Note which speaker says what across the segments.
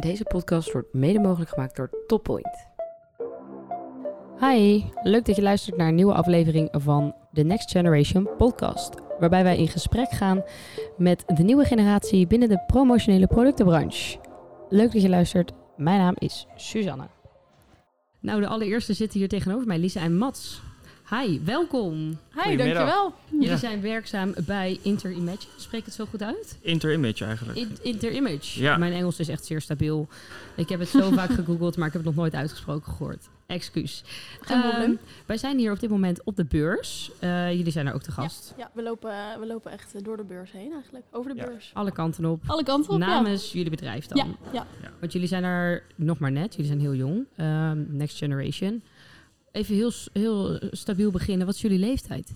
Speaker 1: Deze podcast wordt mede mogelijk gemaakt door Toppoint.
Speaker 2: Hi, leuk dat je luistert naar een nieuwe aflevering van de Next Generation Podcast. Waarbij wij in gesprek gaan met de nieuwe generatie binnen de promotionele productenbranche. Leuk dat je luistert. Mijn naam is Suzanne. Nou, de allereerste zitten hier tegenover mij, Lisa en Mats. Hi, welkom.
Speaker 3: Hi, dankjewel.
Speaker 2: Jullie
Speaker 3: Ja.
Speaker 2: zijn werkzaam bij Interimage. Spreek ik het zo goed uit?
Speaker 3: Interimage eigenlijk.
Speaker 2: In- Interimage.
Speaker 3: Ja.
Speaker 2: Mijn Engels is echt zeer stabiel. Ik heb het zo vaak gegoogeld, maar ik heb het nog nooit uitgesproken gehoord. Excuus.
Speaker 3: Geen probleem.
Speaker 2: Ehm, wij zijn hier op dit moment op de beurs. Eh, jullie zijn er ook te gast.
Speaker 4: Ja, we lopen, we lopen echt eh, door de beurs heen eigenlijk. Over de
Speaker 3: Ja.
Speaker 4: beurs.
Speaker 2: Alle kanten op.
Speaker 3: Alle kanten
Speaker 2: Namens jullie bedrijf dan.
Speaker 4: Ja, ja.
Speaker 2: Want jullie zijn er nog maar net. Jullie zijn heel jong. Ehm, next Generation. Even heel, s- heel stabiel beginnen. Wat is jullie leeftijd?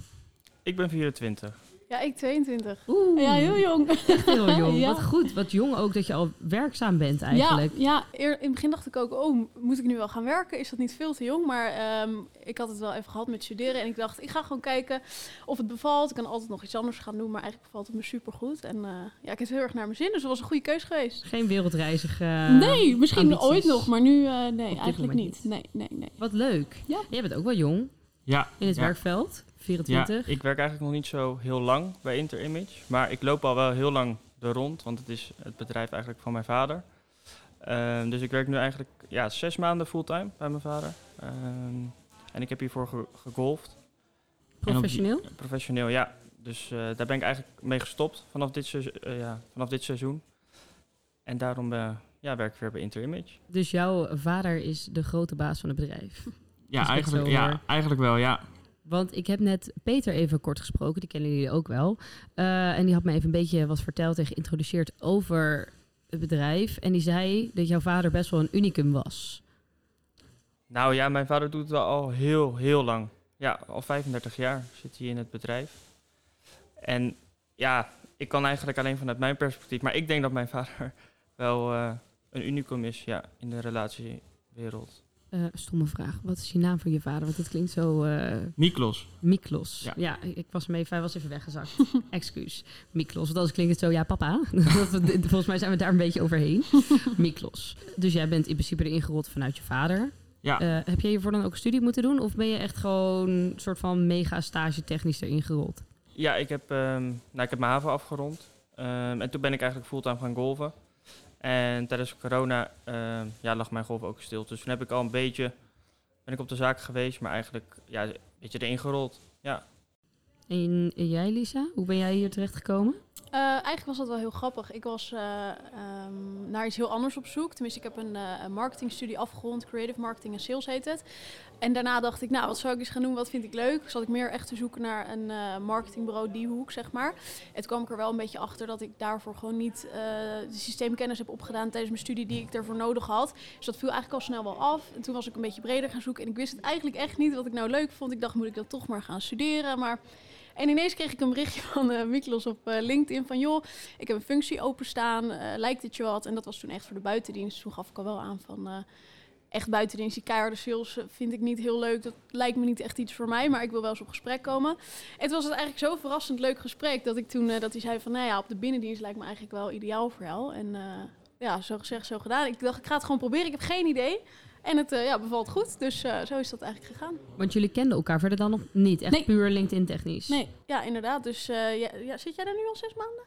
Speaker 3: Ik ben 24.
Speaker 4: Ja, ik 22.
Speaker 2: Oeh,
Speaker 5: Ja, heel jong.
Speaker 2: echt heel jong.
Speaker 5: Ja.
Speaker 2: Wat goed. Wat jong ook dat je al werkzaam bent
Speaker 5: Ja,
Speaker 2: eigenlijk.
Speaker 5: ja,
Speaker 4: Eer, in het begin dacht ik ook, oh, moet ik nu wel gaan werken? Is dat niet veel te jong? Maar ehm, ik had het wel even gehad met studeren. En ik dacht, ik ga gewoon kijken of het bevalt. Ik kan altijd nog iets anders gaan doen, maar eigenlijk bevalt het me supergoed. En eh, ja, ik heb het heel erg naar mijn zin, dus het was een goede keus geweest.
Speaker 2: Geen wereldreizig. eh,
Speaker 5: nee, misschien
Speaker 2: ambities.
Speaker 5: ooit nog, maar nu eh, nee,
Speaker 2: dit
Speaker 5: eigenlijk
Speaker 2: moment
Speaker 5: niet. Nee, nee, nee.
Speaker 2: Wat leuk.
Speaker 5: Ja.
Speaker 2: Jij bent ook wel jong
Speaker 3: Ja.
Speaker 2: in het
Speaker 3: ja.
Speaker 2: werkveld.
Speaker 3: Ja,
Speaker 2: 24.
Speaker 3: ik werk eigenlijk nog niet zo heel lang bij Interimage. Maar ik loop al wel heel lang er rond, want het is het bedrijf eigenlijk van mijn vader. Ehm, dus ik werk nu eigenlijk ja, zes maanden fulltime bij mijn vader. Ehm, en ik heb hiervoor ge- gegolfd.
Speaker 2: Professioneel.
Speaker 3: Professioneel, ja. Dus eh, daar ben ik eigenlijk mee gestopt vanaf dit, seizoen, ja, vanaf dit seizoen. En daarom eh, ja, werk ik weer bij Interimage.
Speaker 2: Dus jouw vader is de grote baas van het bedrijf.
Speaker 6: Ja,
Speaker 2: Is dat
Speaker 6: eigenlijk,
Speaker 2: zo,
Speaker 6: ja,
Speaker 2: maar-
Speaker 6: eigenlijk wel, ja.
Speaker 2: Want ik heb net Peter even kort gesproken, die kennen jullie ook wel. Eh, en die had me even een beetje wat verteld en geïntroduceerd over het bedrijf. En die zei dat jouw vader best wel een unicum was.
Speaker 3: Nou ja, mijn vader doet het wel al heel, heel lang. Ja, al 35 jaar zit hij in het bedrijf. En ja, ik kan eigenlijk alleen vanuit mijn perspectief, maar ik denk dat mijn vader wel eh, een unicum is ja, in de relatiewereld.
Speaker 2: Eh, stomme vraag. Wat is je naam van je vader? Want het klinkt zo eh,
Speaker 6: Miklos.
Speaker 2: Miklos. Ja.
Speaker 6: Ja.
Speaker 2: ik was hem even, hij was even weggezakt. Excuus. Miklos. Want anders klinkt het zo, ja, papa. Dat we- dit- Volgens mij zijn we daar een beetje overheen. Miklos. Dus jij bent in principe erin gerold vanuit je vader.
Speaker 6: Ja.
Speaker 2: Eh, heb je hiervoor dan ook studie moeten doen? Of ben je echt gewoon een soort van mega stage technisch erin gerold?
Speaker 3: Ja, ik heb, ehm, nou, ik heb mijn haven afgerond. Ehm, en toen ben ik eigenlijk fulltime gaan golven. En tijdens corona ehm, ja, lag mijn golf ook stil. Dus toen heb ik al een beetje, ben ik op de zaak geweest, maar eigenlijk ja, een beetje erin gerold.
Speaker 2: En, en jij, Lisa? Hoe ben jij hier terechtgekomen?
Speaker 4: Eh, eigenlijk was dat wel heel grappig. Ik was eh, ehm, naar iets heel anders op zoek. Tenminste, ik heb een eh, marketingstudie afgerond. Creative Marketing en Sales heet het. En daarna dacht ik, nou, wat zou ik eens gaan doen? Wat vind ik leuk? Zat ik meer echt te zoeken naar een eh, marketingbureau die hoek, zeg maar. En toen kwam ik er wel een beetje achter dat ik daarvoor gewoon niet eh, de systeemkennis heb opgedaan tijdens mijn studie die ik daarvoor nodig had. Dus dat viel eigenlijk al snel wel af. En toen was ik een beetje breder gaan zoeken. En ik wist het eigenlijk echt niet wat ik nou leuk vond. Ik dacht, moet ik dat toch maar gaan studeren? Maar... En ineens kreeg ik een berichtje van eh Miklos op eh, LinkedIn van... joh, ik heb een functie openstaan, eh, lijkt het je wat? En dat was toen echt voor de buitendienst. Toen gaf ik al wel aan van... eh, echt buitendienst, die keiharde sales eh, vind ik niet heel leuk. Dat lijkt me niet echt iets voor mij, maar ik wil wel eens op gesprek komen. En toen was het eigenlijk zo verrassend leuk gesprek... dat ik toen, eh, dat hij zei van... nou ja, op de binnendienst lijkt me eigenlijk wel ideaal voor jou. En eh, ja, zo gezegd, zo gedaan. Ik dacht, ik ga het gewoon proberen, ik heb geen idee... En het eh, ja, bevalt goed, dus eh, zo is dat eigenlijk gegaan.
Speaker 2: Want jullie kenden elkaar verder dan nog niet. Echt
Speaker 5: Nee.
Speaker 2: puur LinkedIn technisch.
Speaker 5: Nee.
Speaker 4: Ja, inderdaad. Dus eh, ja, ja, zit jij daar nu al zes maanden?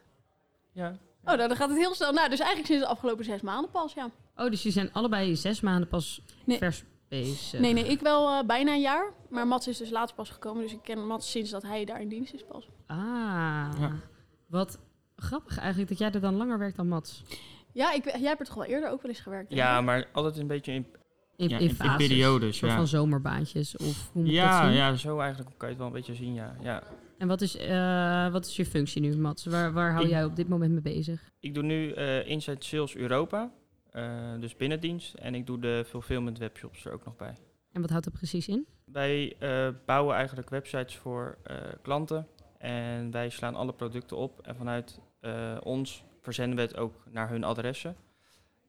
Speaker 3: Ja,
Speaker 4: Oh, nou, dan gaat het heel snel. Nou, dus eigenlijk sinds de afgelopen zes maanden pas, ja.
Speaker 2: Oh, dus jullie zijn allebei zes maanden pas
Speaker 5: Nee.
Speaker 2: vers bezig.
Speaker 4: Nee, nee, ik wel eh, bijna een jaar. Maar Mats is dus later pas gekomen. Dus ik ken Mats sinds dat hij daar in dienst is pas.
Speaker 2: Ah.
Speaker 6: Ja.
Speaker 2: Wat grappig eigenlijk dat jij er dan langer werkt dan Mats.
Speaker 4: Ja, ik, jij hebt er toch wel eerder ook wel eens gewerkt? denk
Speaker 3: ja
Speaker 4: ik?
Speaker 3: maar altijd een beetje in
Speaker 2: In,
Speaker 6: Ja,
Speaker 2: in
Speaker 6: in- in
Speaker 2: fases.
Speaker 6: periodes,
Speaker 2: Een soort
Speaker 6: ja.
Speaker 2: van zomerbaantjes of hoe moet ik dat
Speaker 6: Ja,
Speaker 2: zien?
Speaker 6: ja, dus
Speaker 3: Zo eigenlijk kan je het wel een beetje zien, ja. ja.
Speaker 2: En wat is, eh, wat is je functie nu, Mats? Waar, waar hou
Speaker 3: Ik-
Speaker 2: jij op dit moment mee bezig?
Speaker 3: Ik doe nu eh Inside Sales Europa, eh, dus binnendienst. En ik doe de fulfillment webshops er ook nog bij.
Speaker 2: En wat houdt dat precies in?
Speaker 3: Wij eh, bouwen eigenlijk websites voor eh, klanten. En wij slaan alle producten op. En vanuit eh, ons verzenden we het ook naar hun adressen.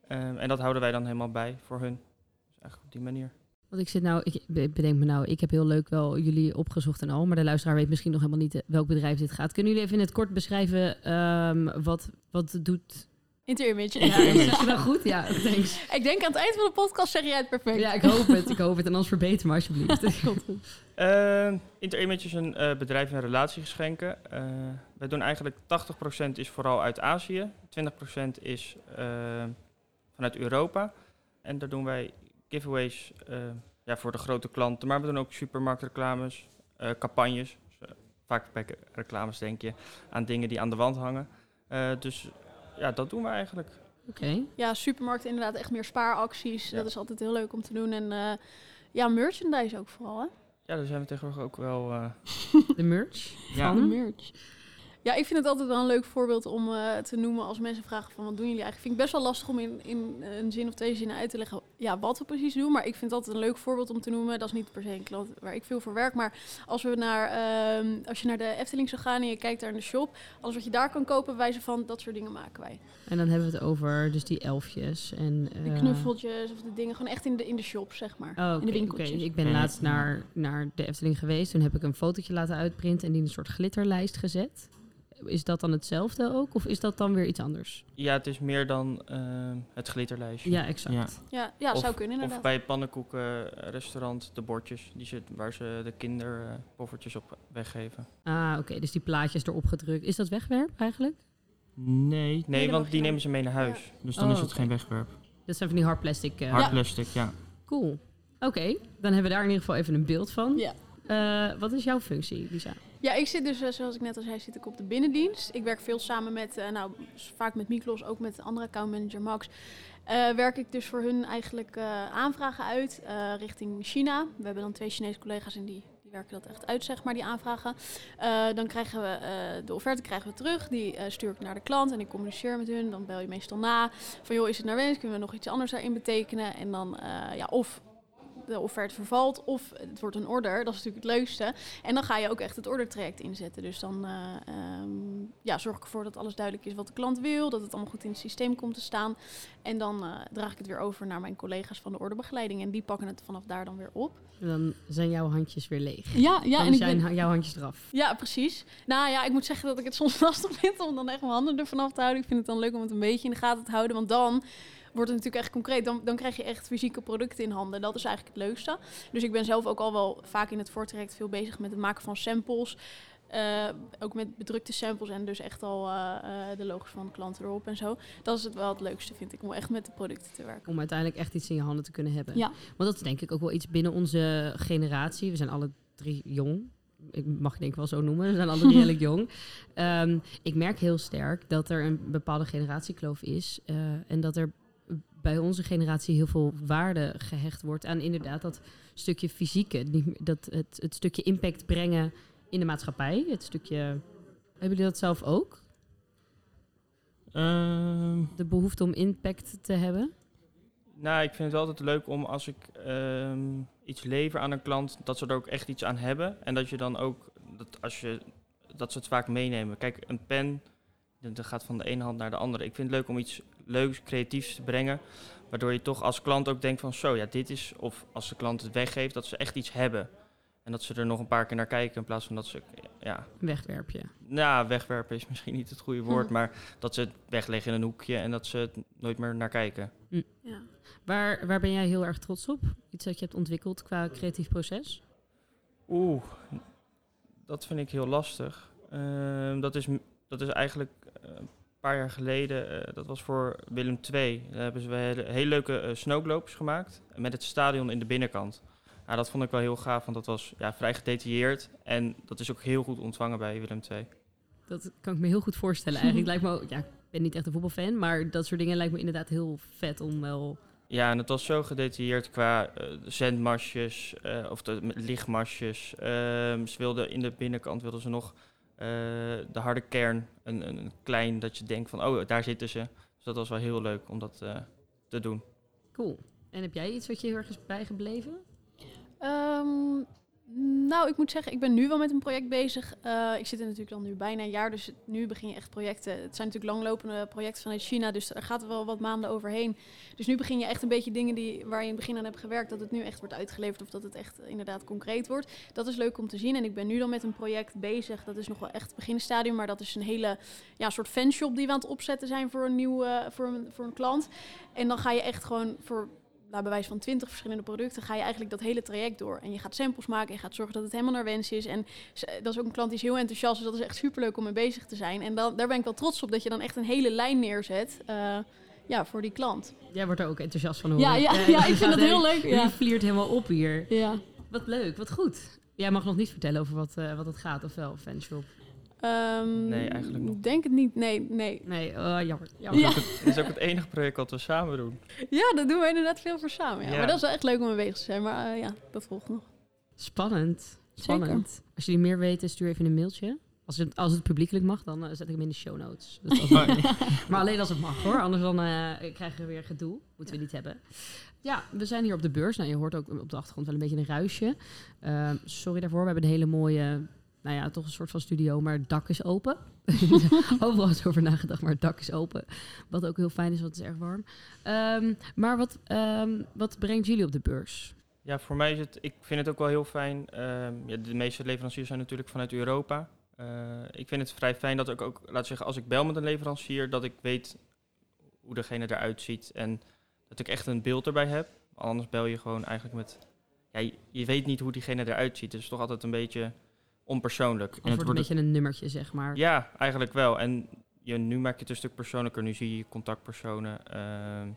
Speaker 3: Ehm, en dat houden wij dan helemaal bij voor hun. Dus eigenlijk op die manier.
Speaker 2: Want ik zit nou, ik be- bedenk me nou, ik heb heel leuk wel jullie opgezocht en al, maar de luisteraar weet misschien nog helemaal niet eh, welk bedrijf dit gaat. Kunnen jullie even in het kort beschrijven ehm, wat, wat doet
Speaker 4: Interimage.
Speaker 2: Ja, is dat goed? Ja, thanks.
Speaker 4: ik denk aan het eind van de podcast zeg jij het perfect.
Speaker 2: Ja, ik hoop het. Ik hoop het. En anders verbeter me alsjeblieft.
Speaker 3: Eh Interimage is een eh, bedrijf in relatiegeschenken. Eh, wij doen eigenlijk 80% is vooral uit Azië, 20% is eh, vanuit Europa. En daar doen wij giveaways eh, ja, voor de grote klanten. Maar we doen ook supermarktreclames, eh, campagnes. Dus, eh, vaak bij reclames denk je aan dingen die aan de wand hangen. Eh, dus ja, dat doen we eigenlijk.
Speaker 2: Oké.
Speaker 4: Ja, supermarkt inderdaad echt meer spaaracties.
Speaker 3: Ja.
Speaker 4: Dat is altijd heel leuk om te doen. En eh, ja, merchandise ook vooral. Hè?
Speaker 3: Ja, daar zijn we tegenwoordig ook wel... eh,
Speaker 2: De merch
Speaker 3: Ja. Mhm.
Speaker 5: De
Speaker 2: van...
Speaker 5: merch.
Speaker 4: Ja, ik vind het altijd wel een leuk voorbeeld om eh, te noemen als mensen vragen van wat doen jullie eigenlijk. Vind ik best wel lastig om in, in een zin of twee zinnen uit te leggen ja, wat we precies doen. Maar ik vind dat een leuk voorbeeld om te noemen. Dat is niet per se een klant waar ik veel voor werk. Maar als, we naar, ehm, als je naar de Efteling zou gaan en je kijkt daar in de shop. Alles wat je daar kan kopen, wijzen van dat soort dingen maken wij.
Speaker 2: En dan hebben we het over dus die elfjes en...
Speaker 4: De
Speaker 2: eh,
Speaker 4: knuffeltjes of de dingen. Gewoon echt in de, in de shop, zeg maar.
Speaker 2: Oh,
Speaker 4: in de
Speaker 2: oké,
Speaker 4: winkeltjes.
Speaker 2: oké. Ik ben
Speaker 3: Ja.
Speaker 2: laatst naar, naar de Efteling geweest. Toen heb ik een fotootje laten uitprinten en die in een soort glitterlijst gezet. Is dat dan hetzelfde ook? Of is dat dan weer iets anders?
Speaker 3: ja, het is meer dan eh, het glitterlijstje.
Speaker 2: Ja, exact.
Speaker 4: Ja, ja
Speaker 3: Of-
Speaker 4: zou kunnen
Speaker 3: Of
Speaker 4: inderdaad.
Speaker 3: bij het pannenkoekenrestaurant, de bordjes, die zit, waar ze de kinderpoffertjes op weggeven.
Speaker 2: Ah, oké. Dus die plaatjes erop gedrukt. Is dat wegwerp eigenlijk?
Speaker 6: Nee,
Speaker 4: Nee,
Speaker 3: Nee,
Speaker 4: dan mag
Speaker 3: want
Speaker 4: je
Speaker 3: die
Speaker 4: dan-
Speaker 3: nemen ze mee naar huis.
Speaker 6: dus dan
Speaker 2: Oh,
Speaker 6: is het
Speaker 2: oké.
Speaker 6: geen wegwerp.
Speaker 2: Dat zijn van die hard plastic. eh,
Speaker 6: Hard
Speaker 4: Ja.
Speaker 6: plastic, ja.
Speaker 2: Cool. Oké, dan hebben we daar in ieder geval even een beeld van.
Speaker 5: Ja.
Speaker 2: Eh, wat is jouw functie, Lisa?
Speaker 4: Ja, ik zit dus, eh, zoals ik net al zei, zit ik op de binnendienst. Ik werk veel samen met, eh, nou, s- vaak met Miklos, ook met de andere accountmanager Max. Eh, werk ik dus voor hun eigenlijk eh, aanvragen uit eh, richting China. We hebben dan twee Chinese collega's en die, die werken dat echt uit, zeg maar, die aanvragen. Eh, dan krijgen we eh, de offerte krijgen we terug, die eh, stuur ik naar de klant en ik communiceer met hun. Dan bel je meestal na van, joh, is het naar wens? Kunnen we nog iets anders daarin betekenen? En dan, eh, ja, of de offerte vervalt of het wordt een order. Dat is natuurlijk het leukste. En dan ga je ook echt het ordertraject inzetten. Dus dan eh, ehm, ja, zorg ik ervoor dat alles duidelijk is wat de klant wil. Dat het allemaal goed in het systeem komt te staan. En dan eh, draag ik het weer over naar mijn collega's van de orderbegeleiding. En die pakken het vanaf daar dan weer op.
Speaker 2: Dan zijn jouw handjes weer leeg.
Speaker 5: Ja, ja.
Speaker 2: dan
Speaker 5: en ik
Speaker 2: zijn
Speaker 5: ben-
Speaker 2: ha- jouw handjes eraf.
Speaker 4: Ja, precies. Nou ja, ik moet zeggen dat ik het soms lastig vind om dan echt mijn handen ervan af te houden. Ik vind het dan leuk om het een beetje in de gaten te houden. Want dan wordt het natuurlijk echt concreet. Dan, dan krijg je echt fysieke producten in handen. Dat is eigenlijk het leukste. Dus ik ben zelf ook al wel vaak in het voortraject veel bezig met het maken van samples. Eh, ook met bedrukte samples en dus echt al eh, eh, de logos van klanten erop en zo. Dat is het wel het leukste, vind ik, om echt met de producten te werken.
Speaker 2: Om uiteindelijk echt iets in je handen te kunnen hebben.
Speaker 5: Ja.
Speaker 2: Want dat is denk ik ook wel iets binnen onze generatie. We zijn alle drie jong. Ik mag het denk ik wel zo noemen. We zijn alle drie redelijk jong. Ehm, ik merk heel sterk dat er een bepaalde generatiekloof is. eh, en dat er bij onze generatie heel veel waarde gehecht wordt aan inderdaad dat stukje fysieke. Niet meer- Dat het, het stukje impact brengen in de maatschappij. Het stukje. Hebben jullie dat zelf ook?
Speaker 6: Ehm,
Speaker 2: De behoefte om impact te hebben?
Speaker 3: Nou, ik vind het wel altijd leuk om als ik ehm, iets lever aan een klant, dat ze er ook echt iets aan hebben. En dat je dan ook, dat, als je, dat ze het vaak meenemen. Kijk, een pen, dat dat gaat van de ene hand naar de andere. Ik vind het leuk om iets leuks, creatiefs te brengen. Waardoor je toch als klant ook denkt van, zo ja, dit is, of als de klant het weggeeft, dat ze echt iets hebben. En dat ze er nog een paar keer naar kijken in plaats van dat ze, ja,
Speaker 2: Wegwerp je.
Speaker 3: nou, wegwerpen is misschien niet het goede woord,
Speaker 4: Hm.
Speaker 3: maar dat ze het wegleggen in een hoekje en dat ze het nooit meer naar kijken.
Speaker 4: Ja.
Speaker 2: Waar, waar ben jij heel erg trots op? Iets dat je hebt ontwikkeld qua creatief proces?
Speaker 3: Oeh, dat vind ik heel lastig. Ehm, dat, is, m- dat is eigenlijk eh, een paar jaar geleden, eh, dat was voor Willem II. Daar hebben ze hele, hele leuke eh, snowglobes gemaakt met het stadion in de binnenkant. Ja, dat vond ik wel heel gaaf, want dat was ja, vrij gedetailleerd en dat is ook heel goed ontvangen bij Willem II.
Speaker 2: Dat kan ik me heel goed voorstellen eigenlijk. lijkt me ook, ja, ik ben niet echt een voetbalfan, maar dat soort dingen lijkt me inderdaad heel vet om wel...
Speaker 3: Ja, en het was zo gedetailleerd qua eh, zendmasjes, eh, of de, met lichtmasjes. Ehm, ze wilden in de binnenkant wilden ze nog eh, de harde kern, een, een, een klein dat je denkt van, oh, daar zitten ze. Dus dat was wel heel leuk om dat eh, te doen.
Speaker 2: Cool. En heb jij iets wat je heel erg is bijgebleven?
Speaker 4: Ehm, Nou, ik moet zeggen, ik ben nu wel met een project bezig. Eh, ik zit er natuurlijk dan nu bijna een jaar, dus het- nu begin je echt projecten. Het zijn natuurlijk langlopende projecten vanuit China, dus er gaat wel wat maanden overheen. Dus nu begin je echt een beetje dingen die, waar je in het begin aan hebt gewerkt, dat het nu echt wordt uitgeleverd of dat het echt eh, inderdaad concreet wordt. Dat is leuk om te zien en ik ben nu dan met een project bezig. Dat is nog wel echt het beginstadium, maar dat is een hele ja, soort fanshop die we aan het opzetten zijn voor een, nieuw, eh, voor, een, voor een klant. En dan ga je echt gewoon voor nou, bij wijze van twintig verschillende producten ga je eigenlijk dat hele traject door. En je gaat samples maken, je gaat zorgen dat het helemaal naar wens is. En ze- dat is ook een klant die is heel enthousiast, dus dat is echt superleuk om mee bezig te zijn. En dan, daar ben ik wel trots op, dat je dan echt een hele lijn neerzet eh, ja, voor die klant.
Speaker 2: Jij wordt er ook enthousiast van hoor.
Speaker 5: Ja, ja, ja, ik vind dat heel leuk.
Speaker 2: Je
Speaker 5: Ja.
Speaker 2: vliert helemaal op hier.
Speaker 5: Ja.
Speaker 2: Wat leuk, wat goed. Jij mag nog niet vertellen over wat, eh, wat het gaat, of wel, fanshop.
Speaker 4: Ehm,
Speaker 3: Nee, eigenlijk nog.
Speaker 4: Denk het niet, nee, nee.
Speaker 2: Nee, eh, jammer. jammer.
Speaker 5: Ja.
Speaker 3: Dat is ook het enige project wat we samen doen.
Speaker 4: Ja, dat doen we inderdaad veel voor samen. Ja.
Speaker 3: Ja.
Speaker 4: Maar dat is wel echt leuk om mee bezig te zijn. Maar eh, ja, dat volgt nog.
Speaker 2: Spannend.
Speaker 5: Zeker.
Speaker 2: Spannend. Als jullie meer weten, stuur even een mailtje. Als het, als het publiekelijk mag, dan eh, zet ik hem in de show notes. Dat is wel- maar alleen als het mag hoor, anders dan eh, krijgen we weer gedoe. Moeten we niet hebben. Ja, we zijn hier op de beurs. Nou, je hoort ook op de achtergrond wel een beetje een ruisje. Eh, sorry daarvoor, we hebben een hele mooie, nou ja, toch een soort van studio, maar het dak is open. Overal is over nagedacht, maar het dak is open. Wat ook heel fijn is, want het is erg warm. Ehm, maar wat, ehm, wat brengt jullie op de beurs?
Speaker 3: Ja, voor mij is het, ik vind het ook wel heel fijn. ehm, ja, de meeste leveranciers zijn natuurlijk vanuit Europa. Eh, ik vind het vrij fijn dat ik ook, laat ik zeggen, als ik bel met een leverancier, dat ik weet hoe degene eruit ziet en dat ik echt een beeld erbij heb. Anders bel je gewoon eigenlijk met, ja, je, je weet niet hoe diegene eruit ziet. Het is toch altijd een beetje onpersoonlijk.
Speaker 2: Of wordt een beetje een nummertje, zeg maar.
Speaker 3: Ja, eigenlijk wel. En je, nu maak je het een stuk persoonlijker. Nu zie je contactpersonen. ehm,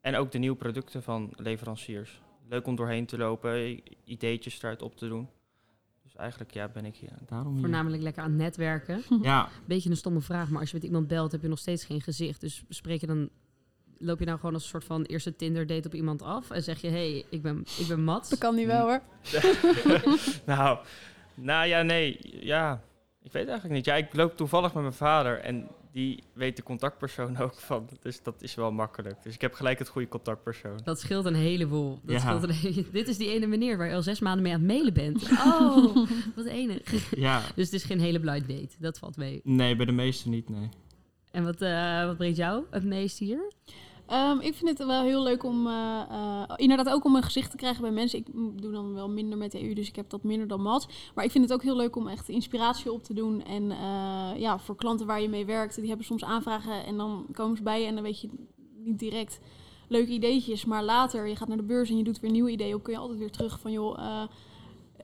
Speaker 3: en ook de nieuwe producten van leveranciers. Leuk om doorheen te lopen, i- ideetjes eruit op te doen. Dus eigenlijk ja, ben ik hier. Daarom hier.
Speaker 2: Voornamelijk lekker aan het netwerken.
Speaker 4: Hm.
Speaker 3: Ja,
Speaker 2: Beetje een stomme vraag, maar als je met iemand belt, heb je nog steeds geen gezicht. Dus spreek je dan, loop je nou gewoon als een soort van eerste Tinder-date op iemand af en zeg je: hey, ik, ben, ik ben Mats.
Speaker 4: Dat kan
Speaker 3: Hm.
Speaker 4: niet wel hoor.
Speaker 3: nou, nou ja, nee. Ja, ik weet eigenlijk niet. Ja, ik loop toevallig met mijn vader en die weet de contactpersoon ook van. Dus dat is wel makkelijk. Dus ik heb gelijk het goede contactpersoon.
Speaker 2: Dat scheelt een heleboel. Dat
Speaker 3: Ja.
Speaker 2: scheelt een hele- Dit is die ene meneer waar je al zes maanden mee aan het mailen bent. Oh, wat enig.
Speaker 3: Ja,
Speaker 2: Dus het is geen hele blind date. Dat valt mee.
Speaker 3: nee, bij de meeste niet, nee.
Speaker 2: En wat, eh, wat brengt jou het meest hier?
Speaker 5: Ehm, ik vind het wel heel leuk om eh, eh, inderdaad ook om een gezicht te krijgen bij mensen. Ik m- doe dan wel minder met de EU, dus ik heb dat minder dan Mats. Maar ik vind het ook heel leuk om echt inspiratie op te doen. En eh, ja, voor klanten waar je mee werkt, die hebben soms aanvragen en dan komen ze bij je en dan weet je niet direct leuke ideetjes. Maar later, je gaat naar de beurs en je doet weer nieuwe ideeën op, kun je altijd weer terug van joh, eh,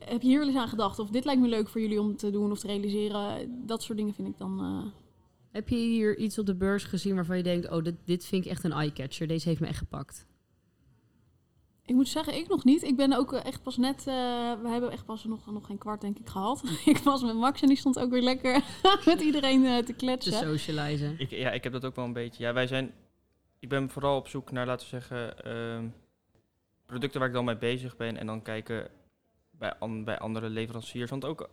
Speaker 5: heb je hier wel eens aan gedacht? Of dit lijkt me leuk voor jullie om te doen of te realiseren. Dat soort dingen vind ik dan... eh,
Speaker 2: Heb je hier iets op de beurs gezien waarvan je denkt: oh, dit, dit vind ik echt een eye-catcher. Deze heeft me echt gepakt?
Speaker 5: Ik moet zeggen, ik nog niet. Ik ben ook eh, echt pas net... eh, we hebben echt pas nog, nog geen kwart, denk ik, gehad. ik was met Max en die stond ook weer lekker met iedereen eh, te
Speaker 2: Te
Speaker 5: kletsen.
Speaker 2: socializen.
Speaker 3: Ik, ja, ik heb dat ook wel een beetje. Ja, wij zijn. Ik ben vooral op zoek naar, laten we zeggen, ehm, producten waar ik dan mee bezig ben. En dan kijken bij, an- bij andere leveranciers. Want ook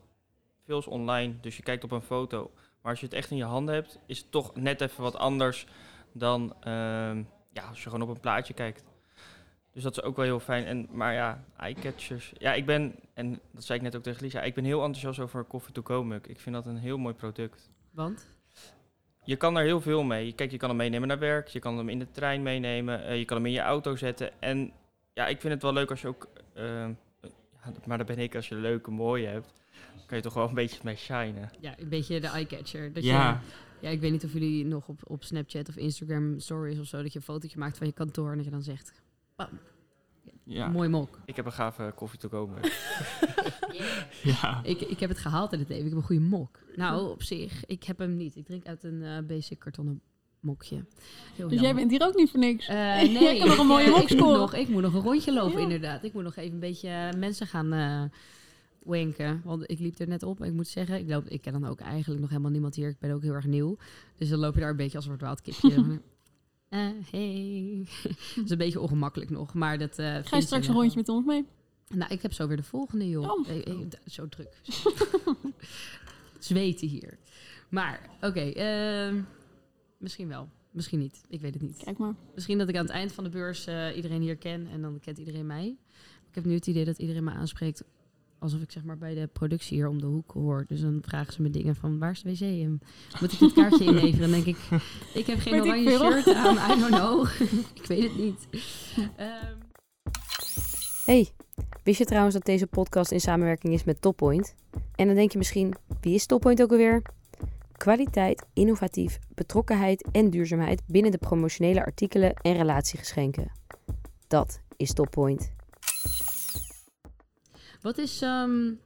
Speaker 3: veel is online, dus je kijkt op een foto. Maar als je het echt in je handen hebt, is het toch net even wat anders dan ehm, ja, als je gewoon op een plaatje kijkt. Dus dat is ook wel heel fijn. En, maar ja, eyecatchers. Ja, ik ben, en dat zei ik net ook tegen Lisa, ik ben heel enthousiast over Coffee to Go Mug. Ik vind dat een heel mooi product.
Speaker 2: Want?
Speaker 3: Je kan er heel veel mee. Kijk, je kan hem meenemen naar werk, je kan hem in de trein meenemen, eh, je kan hem in je auto zetten. En ja, ik vind het wel leuk als je ook, eh, ja, maar dat ben ik, als je leuke, mooie hebt, kan je toch wel een beetje mee shinen.
Speaker 2: Ja, een beetje de eyecatcher. Dat
Speaker 3: Ja.
Speaker 2: Je, ja, ik weet niet of jullie nog op, op Snapchat of Instagram stories of zo... dat je een fotootje maakt van je kantoor en dat je dan zegt... "Bam, Mooi mok.
Speaker 3: Ik heb een gave koffie te komen.
Speaker 2: Ik, ik heb het gehaald in het leven. Ik heb een goede mok. Nou, op zich, ik heb hem niet. Ik drink uit een eh, basic kartonnen mokje. Heel
Speaker 5: Dus
Speaker 2: jammer.
Speaker 5: jij bent hier ook niet voor niks.
Speaker 2: Eh,
Speaker 5: Jij
Speaker 2: nee,
Speaker 5: kan nog een
Speaker 2: ik,
Speaker 5: mooie
Speaker 2: eh,
Speaker 5: mok
Speaker 2: ik moet
Speaker 5: scoren.
Speaker 2: nog- Ik moet nog een rondje lopen,
Speaker 5: Ja.
Speaker 2: inderdaad. Ik moet nog even een beetje eh, mensen gaan eh wenken. Want ik liep er net op en ik moet zeggen... Ik, loop, ik ken dan ook eigenlijk nog helemaal niemand hier. Ik ben ook heel erg nieuw. Dus dan loop je daar een beetje als een verdwaald kipje. Eh hey. Dat is een beetje ongemakkelijk nog. Maar dat, eh, vind
Speaker 5: Ga je straks een
Speaker 2: wel.
Speaker 5: rondje met ons mee?
Speaker 2: Nou, ik heb zo weer de volgende, joh.
Speaker 5: Oh.
Speaker 2: Eh, eh, d- zo druk. Zweten hier. Maar, oké. ehm, misschien wel. Misschien niet. Ik weet het niet.
Speaker 5: Kijk maar.
Speaker 2: Misschien dat ik aan het eind van de beurs eh, iedereen hier ken en dan kent iedereen mij. Ik heb nu het idee dat iedereen me aanspreekt alsof ik zeg maar bij de productie hier om de hoek hoor. Dus dan vragen ze me dingen van waar is de wc? En moet ik dit kaartje inleveren? Dan denk ik, ik heb geen
Speaker 5: Weet ik
Speaker 2: oranje
Speaker 5: veel.
Speaker 2: shirt aan. I don't know. ik weet het niet. Ehm,
Speaker 1: Hey, wist je trouwens dat deze podcast in samenwerking is met Toppoint? En dan denk je misschien, wie is Toppoint ook alweer? Kwaliteit, innovatief, betrokkenheid en duurzaamheid binnen de promotionele artikelen en relatiegeschenken. Dat is Toppoint.
Speaker 2: wat is ehm, een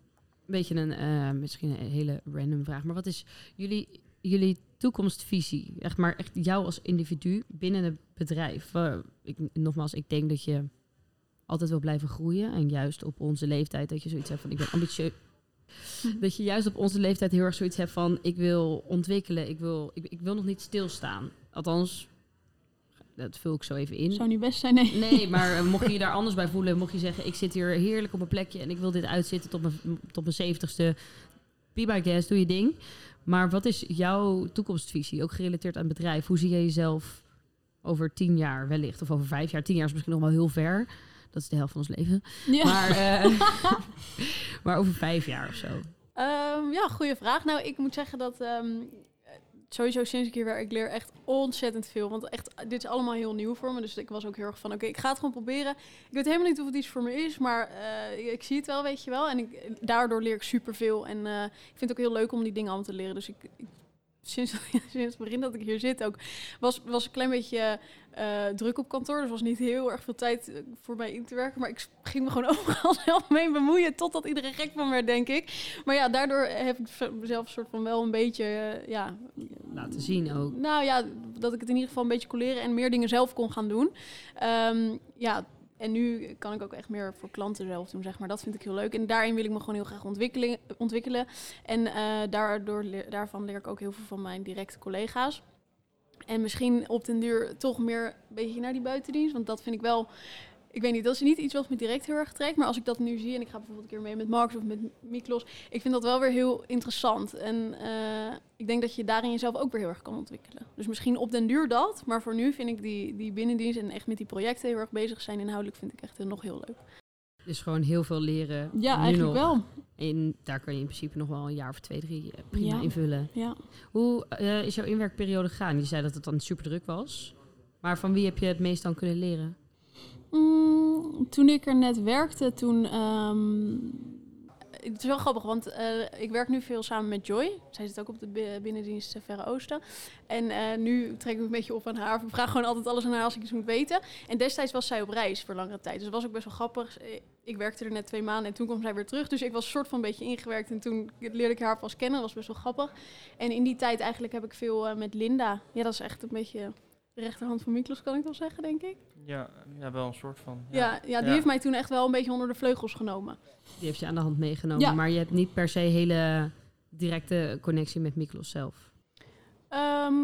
Speaker 2: beetje een eh, misschien een hele random vraag, maar wat is jullie, jullie toekomstvisie? Echt maar echt jou als individu binnen het bedrijf. Eh, ik, nogmaals, ik denk dat je altijd wil blijven groeien en juist op onze leeftijd dat je zoiets hebt van ik ben ambitieus. Dat je juist op onze leeftijd heel erg zoiets hebt van ik wil ontwikkelen, ik wil, ik, ik wil nog niet stilstaan. Althans, dat vul ik zo even in.
Speaker 5: Zou niet best zijn, nee.
Speaker 2: Nee, maar eh, mocht je je daar anders bij voelen, mocht je zeggen: ik zit hier heerlijk op mijn plekje en ik wil dit uitzitten tot mijn, tot mijn 70ste. Be my guest, doe je ding. Maar wat is jouw toekomstvisie, ook gerelateerd aan het bedrijf? Hoe zie jij jezelf over tien jaar wellicht, of over vijf jaar? Tien jaar is misschien nog wel heel ver. Dat is de helft van ons leven.
Speaker 5: Ja.
Speaker 2: Maar, eh, maar over vijf jaar of zo.
Speaker 4: Ehm, ja, goede vraag. Nou, ik moet zeggen dat ehm, eh, sowieso sinds ik hier werk, ik leer echt ontzettend veel. Want echt, dit is allemaal heel nieuw voor me. Dus ik was ook heel erg van, oké, ik ga het gewoon proberen. Ik weet helemaal niet of het iets voor me is, maar eh, ik zie het wel, weet je wel. En ik, daardoor leer ik superveel. En eh, ik vind het ook heel leuk om die dingen allemaal te leren. Dus ik, ik- sinds, sinds het begin dat ik hier zit ook, was, was een klein beetje eh, druk op kantoor. Dus was niet heel erg veel tijd eh, voor mij in te werken. Maar ik s- ging me gewoon overal zelf mee bemoeien, totdat iedereen gek van me werd, denk ik. Maar ja, daardoor heb ik v- mezelf soort van wel een beetje, eh, ja...
Speaker 2: Laten zien ook.
Speaker 4: Nou ja, dat ik het in ieder geval een beetje kon leren en meer dingen zelf kon gaan doen. Ehm, ja, en nu kan ik ook echt meer voor klanten zelf doen, zeg maar. Dat vind ik heel leuk. En daarin wil ik me gewoon heel graag ontwikkelen. ontwikkelen. En eh, daardoor, leer- daarvan leer ik ook heel veel van mijn directe collega's. En misschien op den duur toch meer een beetje naar die buitendienst. Want dat vind ik wel... Ik weet niet, dat is niet iets wat me direct heel erg trekt. Maar als ik dat nu zie en ik ga bijvoorbeeld een keer mee met Marx of met Miklos. Ik vind dat wel weer heel interessant. En eh, ik denk dat je daarin jezelf ook weer heel erg kan ontwikkelen. Dus misschien op den duur dat. Maar voor nu vind ik die, die binnendienst en echt met die projecten heel erg bezig zijn inhoudelijk vind ik echt eh, nog heel leuk.
Speaker 2: Dus gewoon heel veel leren.
Speaker 5: Ja,
Speaker 2: nu
Speaker 5: eigenlijk
Speaker 2: nog.
Speaker 5: wel.
Speaker 2: En daar kan je in principe nog wel een jaar of twee, drie eh, prima
Speaker 5: Ja.
Speaker 2: invullen.
Speaker 5: Ja.
Speaker 2: Hoe eh, is jouw inwerkperiode gegaan? Je zei dat het dan super druk was. Maar van wie heb je het meest dan kunnen leren?
Speaker 5: Mm, toen ik er net werkte, toen... ehm,
Speaker 4: Het is wel grappig, want eh, ik werk nu veel samen met Joy. Zij zit ook op de bi- binnendienst eh, Verre Oosten. En eh, nu trek ik me een beetje op aan haar. Ik vraag gewoon altijd alles aan haar als ik iets moet weten. En destijds was zij op reis voor langere tijd. Dus dat was ook best wel grappig. Eh, Ik werkte er net twee maanden en toen kwam zij weer terug. Dus ik was soort van een beetje ingewerkt. En toen leerde ik haar pas kennen. Dat was best wel grappig. En in die tijd eigenlijk heb ik veel eh, met Linda. Ja, dat is echt een beetje de rechterhand van Miklos, kan ik wel zeggen, denk ik.
Speaker 3: Ja, ja, wel een soort van.
Speaker 4: Ja, ja, die
Speaker 3: Ja.
Speaker 4: heeft mij toen echt wel een beetje onder de vleugels genomen.
Speaker 2: Die heeft je aan de hand meegenomen.
Speaker 5: Ja.
Speaker 2: Maar je hebt niet per se hele directe connectie met Miklos zelf.
Speaker 4: Ehm,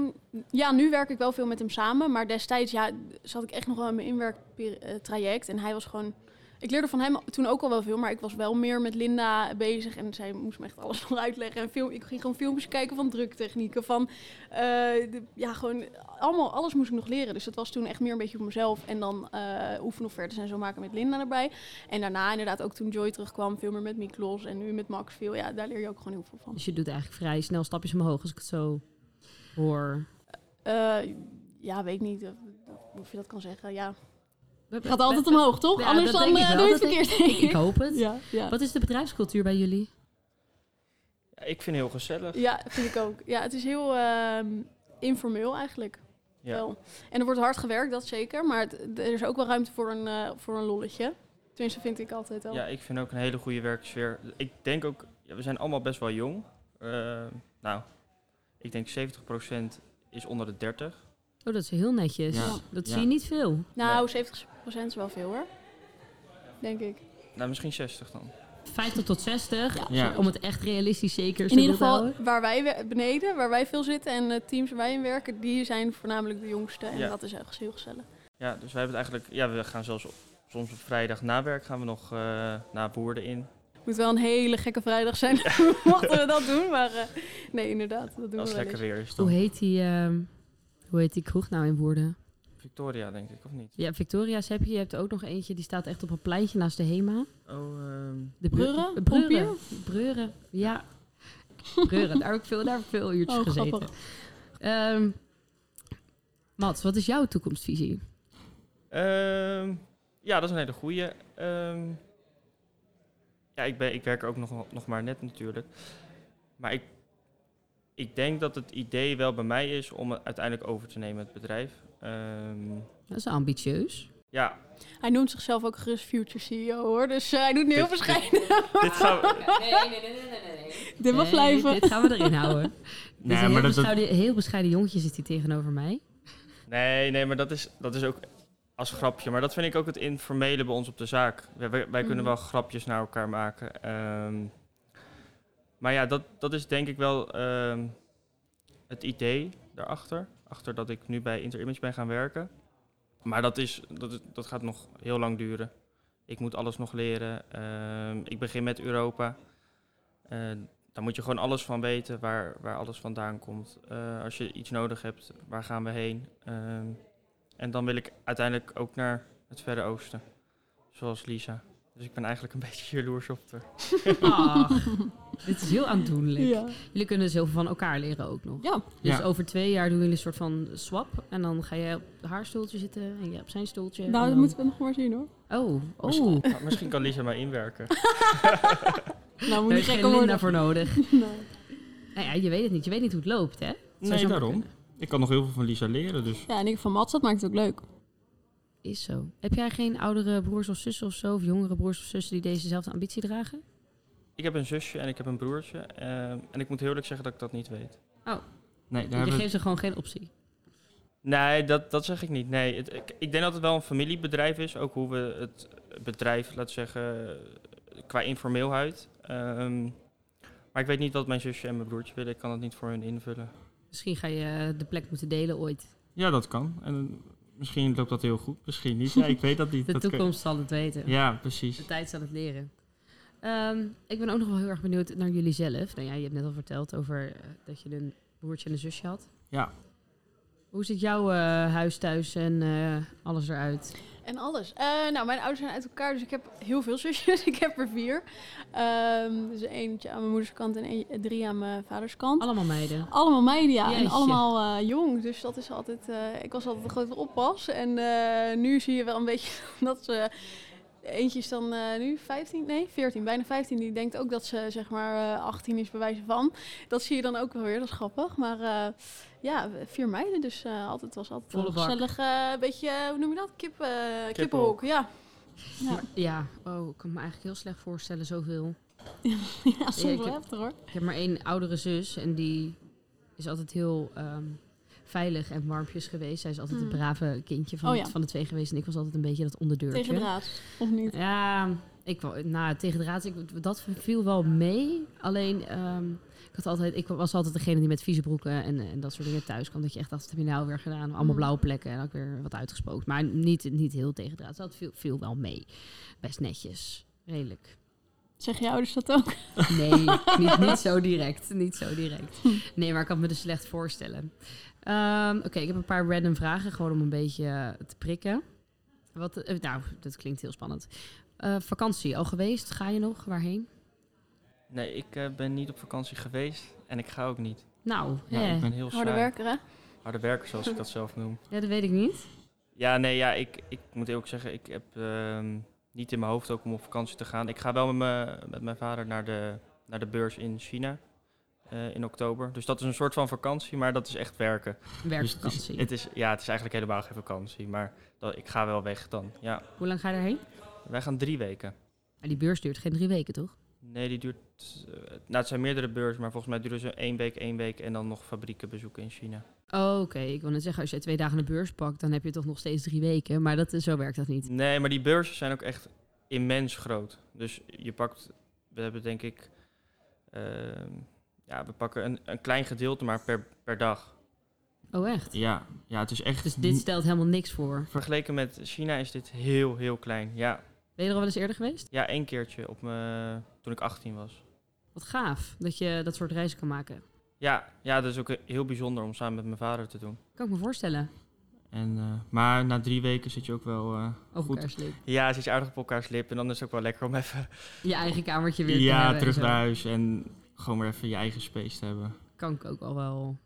Speaker 4: ja, nu werk ik wel veel met hem samen. Maar destijds ja, zat ik echt nog wel in mijn inwerktraject. En hij was gewoon... Ik leerde van hem toen ook al wel veel, maar ik was wel meer met Linda bezig. En zij moest me echt alles nog uitleggen. En film, ik ging gewoon filmpjes kijken van druktechnieken. Van, eh, de- ja, gewoon allemaal, alles moest ik nog leren. Dus dat was toen echt meer een beetje op mezelf. En dan eh oefenoffertes en zo maken met Linda erbij. En daarna inderdaad ook toen Joy terugkwam, veel meer met Miklos. En nu met Max veel. Ja, daar leer je ook gewoon heel veel van.
Speaker 2: Dus je doet eigenlijk vrij snel stapjes omhoog als ik het zo hoor.
Speaker 4: Eh, ja, weet ik niet eh, of je dat kan zeggen. Ja.
Speaker 5: gaat altijd omhoog, toch?
Speaker 2: Ja,
Speaker 5: Anders
Speaker 2: dat
Speaker 5: dan
Speaker 2: denk ik
Speaker 5: eh,
Speaker 2: wel.
Speaker 5: doe je het
Speaker 2: Dat
Speaker 5: verkeerd. denk
Speaker 2: Ik
Speaker 5: ik.
Speaker 2: hoop het.
Speaker 5: Ja, ja.
Speaker 2: Wat is de bedrijfscultuur bij jullie?
Speaker 3: Ja, ik vind het heel gezellig.
Speaker 4: ja, vind ik ook. Ja, het is heel ehm, informeel eigenlijk.
Speaker 3: Ja.
Speaker 4: Wel. En er wordt hard gewerkt, dat zeker. Maar het- er is ook wel ruimte voor een, eh, voor een lolletje. Tenminste, vind ik altijd wel.
Speaker 3: Ja, ik vind ook een hele goede werksfeer. Ik denk ook, ja, we zijn allemaal best wel jong. Eh, nou, ik denk 70% is onder de 30.
Speaker 2: Oh, dat is heel netjes.
Speaker 6: Ja.
Speaker 2: Dat
Speaker 6: Ja.
Speaker 2: zie je niet veel.
Speaker 4: Nou, 70% is wel veel hoor. Denk ik.
Speaker 3: Nou, misschien 60 dan.
Speaker 2: 50 tot 60.
Speaker 6: Ja.
Speaker 2: Om het echt realistisch zeker te
Speaker 5: In ieder
Speaker 2: willen
Speaker 5: geval-
Speaker 2: houden.
Speaker 4: Waar wij we- beneden, waar wij veel zitten en de teams waar wij in werken, die zijn voornamelijk de jongste. En
Speaker 3: Ja.
Speaker 4: dat is echt heel gezellig.
Speaker 3: Ja, dus wij hebben het eigenlijk, ja, we gaan zelfs op, soms op vrijdag na werk gaan we nog eh naar boerden in.
Speaker 4: Moet wel een hele gekke vrijdag zijn, mochten we dat doen. Maar eh, nee, inderdaad, dat doen
Speaker 3: Als
Speaker 4: we
Speaker 3: het
Speaker 4: wel
Speaker 3: lekker
Speaker 4: eens.
Speaker 3: weer is
Speaker 2: Hoe
Speaker 3: dan.
Speaker 2: heet die, ehm, hoe heet die kroeg nou in woorden?
Speaker 3: Victoria, denk ik, of niet?
Speaker 2: Ja, Victoria's heb je. Je hebt ook nog eentje, die staat echt op een pleintje naast de Hema.
Speaker 3: Oh, ehm,
Speaker 2: De
Speaker 5: Breuren?
Speaker 2: Breuren. Breuren, ja. Breuren, daar heb ik veel, daar heb ik veel uurtjes
Speaker 5: Oh,
Speaker 2: gezeten.
Speaker 5: grappig.
Speaker 2: Ehm, Mats, wat is jouw toekomstvisie?
Speaker 3: Ehm, ja, dat is een hele goeie. Ehm, ja, ik, ben, ik werk ook nog, nog maar net natuurlijk. Maar ik, ik denk dat het idee wel bij mij is om het uiteindelijk over te nemen, het bedrijf. Ehm,
Speaker 2: Dat is ambitieus.
Speaker 3: ja,
Speaker 4: Hij noemt zichzelf ook gerust future CEO hoor, dus eh, hij doet nu heel
Speaker 3: Dit- dit-
Speaker 4: verschillende.
Speaker 3: dit gaan we...
Speaker 2: Nee, nee, nee, nee, nee.
Speaker 5: Dit mag blijven.
Speaker 2: Dit gaan we erin houden. Dit is een
Speaker 6: Nee,
Speaker 2: dus heel,
Speaker 6: maar dat, dat,
Speaker 2: bescheiden, heel bescheiden jongetje zit hier tegenover mij.
Speaker 3: Nee, nee, maar dat is, dat is ook als grapje. Maar dat vind ik ook het informele bij ons op de zaak. Wij, wij, wij kunnen
Speaker 4: Mhm.
Speaker 3: wel grapjes naar elkaar maken. ehm. maar ja, dat, dat is denk ik wel ehm, het idee daarachter. Achter dat ik nu bij Interimage ben gaan werken. Maar dat, is, dat, is- dat gaat nog heel lang duren. Ik moet alles nog leren. Ehm, ik begin met Europa. Eh, daar moet je gewoon alles van weten, waar, waar alles vandaan komt. Eh, als je iets nodig hebt, waar gaan we heen? Ehm, en dan wil ik uiteindelijk ook naar het Verre Oosten, zoals Lisa. Dus ik ben eigenlijk een beetje jaloers op haar.
Speaker 2: Ach, dit is heel aandoenlijk.
Speaker 5: Ja.
Speaker 2: Jullie kunnen dus heel veel van elkaar leren ook nog.
Speaker 4: Nou,
Speaker 5: ja.
Speaker 2: Dus
Speaker 6: Ja.
Speaker 2: over twee jaar doen jullie een soort van swap. En dan ga jij op haar stoeltje zitten en jij op zijn stoeltje.
Speaker 5: Nou,
Speaker 2: en
Speaker 5: dat
Speaker 2: dan-
Speaker 5: moeten we nog maar zien hoor.
Speaker 2: Oh, oh.
Speaker 3: Misschien, misschien kan Lisa mij inwerken.
Speaker 5: Nou, moet
Speaker 2: Daar
Speaker 5: niet
Speaker 2: is geen
Speaker 5: gekker worden.
Speaker 2: Linda voor nodig.
Speaker 5: Nee.
Speaker 2: Nou ja, je weet het niet. Je weet niet hoe het loopt, hè? Zou
Speaker 6: nee,
Speaker 2: zomaar
Speaker 6: daarom.
Speaker 2: kunnen.
Speaker 6: Ik kan nog heel veel van Lisa leren, dus...
Speaker 5: Ja, en ik van Mats, dat maakt het ook leuk.
Speaker 2: Is zo. Heb jij geen oudere broers of zussen of zo? Of jongere broers of zussen die dezezelfde ambitie dragen?
Speaker 3: Ik heb een zusje en ik heb een broertje. ehm, en ik moet heel eerlijk zeggen dat ik dat niet weet.
Speaker 6: Nee, daar
Speaker 2: Je
Speaker 6: hebben we-
Speaker 2: geeft ze gewoon geen optie.
Speaker 3: Nee, dat, dat zeg ik niet. Nee, het- ik, ik denk dat het wel een familiebedrijf is. Ook hoe we het bedrijf, laten we zeggen, qua informeelheid. Ehm, maar ik weet niet wat mijn zusje en mijn broertje willen. Ik kan dat niet voor hun invullen.
Speaker 2: Misschien ga je eh, de plek moeten delen ooit.
Speaker 6: Ja, dat kan. En eh, misschien loopt dat heel goed, misschien niet. Ja, ik weet dat niet.
Speaker 2: De
Speaker 6: dat kan-
Speaker 2: toekomst zal het weten.
Speaker 6: Ja, precies.
Speaker 2: De tijd zal het leren. Ehm, ik ben ook nog wel heel erg benieuwd naar jullie zelf. Nou ja, je hebt net al verteld over eh, dat je een broertje en een zusje had.
Speaker 6: Ja.
Speaker 2: Hoe ziet jouw eh, huis thuis en eh, alles eruit?
Speaker 4: En alles. Eh, nou, mijn ouders zijn uit elkaar, dus ik heb heel veel zusjes. ik heb er vier. Ehm, dus eentje aan mijn moeders kant en een- drie aan mijn vaders kant.
Speaker 2: Allemaal meiden.
Speaker 5: Allemaal media en
Speaker 2: Jeetje.
Speaker 5: allemaal eh,
Speaker 4: jong, dus dat is altijd. eh, ik was altijd een grote oppas. En eh, nu zie je wel een beetje dat ze. Eentje is dan eh, nu 15, nee 14, bijna 15. Die denkt ook dat ze zeg maar eh, 18 is, bij wijze van. Dat zie je dan ook wel weer, dat is grappig. Maar eh, ja, vier meiden, dus eh, altijd was altijd
Speaker 2: Volle
Speaker 4: een
Speaker 2: bak.
Speaker 4: gezellig. eh, beetje, eh, hoe noem je dat? Kip, eh,
Speaker 3: Kippenhok.
Speaker 4: kippenhok, ja.
Speaker 2: Ja, oh, ik kan me eigenlijk heel slecht voorstellen zoveel.
Speaker 5: ja,
Speaker 2: Ja,
Speaker 5: soms
Speaker 2: ik
Speaker 5: wel
Speaker 2: heb-
Speaker 5: heftig hoor.
Speaker 2: Ik heb maar één oudere zus en die is altijd heel ehm, veilig en warmpjes geweest. Zij is altijd
Speaker 5: Hmm.
Speaker 2: het brave kindje van,
Speaker 5: Oh ja.
Speaker 2: van de twee geweest en ik was altijd een beetje dat onderdeurtje.
Speaker 5: Tegen draad, of niet?
Speaker 2: Ja, ik, wou- nou, tegen de raad, ik, dat viel wel mee. Alleen, ehm, ik, had altijd, ik was altijd degene die met vieze broeken en, en dat soort dingen thuis kwam. Dat je echt dacht, wat heb je nou weer gedaan? Allemaal
Speaker 5: Mm.
Speaker 2: blauwe plekken en ook weer wat uitgespookt. Maar niet, niet heel tegen de raad. Dus Dat viel, viel wel mee. Best netjes. Redelijk.
Speaker 5: Zeg je ouders dat ook?
Speaker 2: Nee, niet, niet zo direct. Niet zo direct. Nee, maar ik kan me dus slecht voorstellen. Ehm, Oké, ik heb een paar random vragen, gewoon om een beetje eh, te prikken. Wat, eh, nou, dat klinkt heel spannend. Eh, vakantie al geweest? Ga je nog? Waarheen?
Speaker 3: Nee, ik eh, ben niet op vakantie geweest. En ik ga ook niet.
Speaker 2: Nou,
Speaker 6: Ja,
Speaker 2: hè.
Speaker 6: ik ben heel...
Speaker 3: Heel
Speaker 4: Harde
Speaker 3: saai.
Speaker 4: werker, hè?
Speaker 3: Harde werken, zoals ik dat zelf noem.
Speaker 2: ja, dat weet ik niet.
Speaker 3: Ja, nee, ja, ik, ik moet eerlijk zeggen, ik heb ehm, niet in mijn hoofd ook om op vakantie te gaan. Ik ga wel met, me, met mijn vader naar de, naar de beurs in China eh, in oktober. Dus dat is een soort van vakantie, maar dat is echt werken.
Speaker 6: Dus het is-
Speaker 2: Werkvakantie.
Speaker 3: Het is, ja, het is eigenlijk helemaal geen vakantie, maar dat, ik ga wel weg dan. Ja,
Speaker 2: Hoe lang ga je daarheen?
Speaker 3: wij gaan drie weken.
Speaker 2: Maar die beurs duurt geen drie weken, toch?
Speaker 3: Nee, die duurt... eh, nou, het zijn meerdere beurzen, maar volgens mij duren ze één week, één week en dan nog fabrieken bezoeken in China.
Speaker 2: Oh, Oké, ik wil net zeggen, als je twee dagen de beurs pakt, dan heb je toch nog steeds drie weken. Maar dat, eh, zo werkt dat niet.
Speaker 3: Nee, maar die beurzen zijn ook echt immens groot. Dus je pakt, we hebben denk ik, ehm, ja, we pakken een, een klein gedeelte maar per, per dag.
Speaker 2: Oh, echt?
Speaker 6: Ja, ja, het is echt...
Speaker 2: Dus dit stelt helemaal niks voor.
Speaker 3: Vergeleken met China is dit heel, heel klein. Ja,
Speaker 2: Ben je er al wel eens eerder geweest?
Speaker 3: ja één keertje op me, toen ik 18 was.
Speaker 2: Wat gaaf dat je dat soort reizen kan maken.
Speaker 3: Ja, ja, dat is ook heel bijzonder om samen met mijn vader te doen.
Speaker 2: Kan ik me voorstellen.
Speaker 6: En, eh, maar na drie weken zit je ook wel eh,
Speaker 2: Over
Speaker 6: goed.
Speaker 2: elkaars lip.
Speaker 3: Ja, zit je aardig op elkaars lip. En dan is het ook wel lekker om even...
Speaker 2: Je eigen kamertje weer te
Speaker 6: Ja,
Speaker 2: hebben en
Speaker 6: terug
Speaker 2: zo.
Speaker 6: naar huis en gewoon weer even je eigen space te hebben.
Speaker 2: Kan ik ook al wel een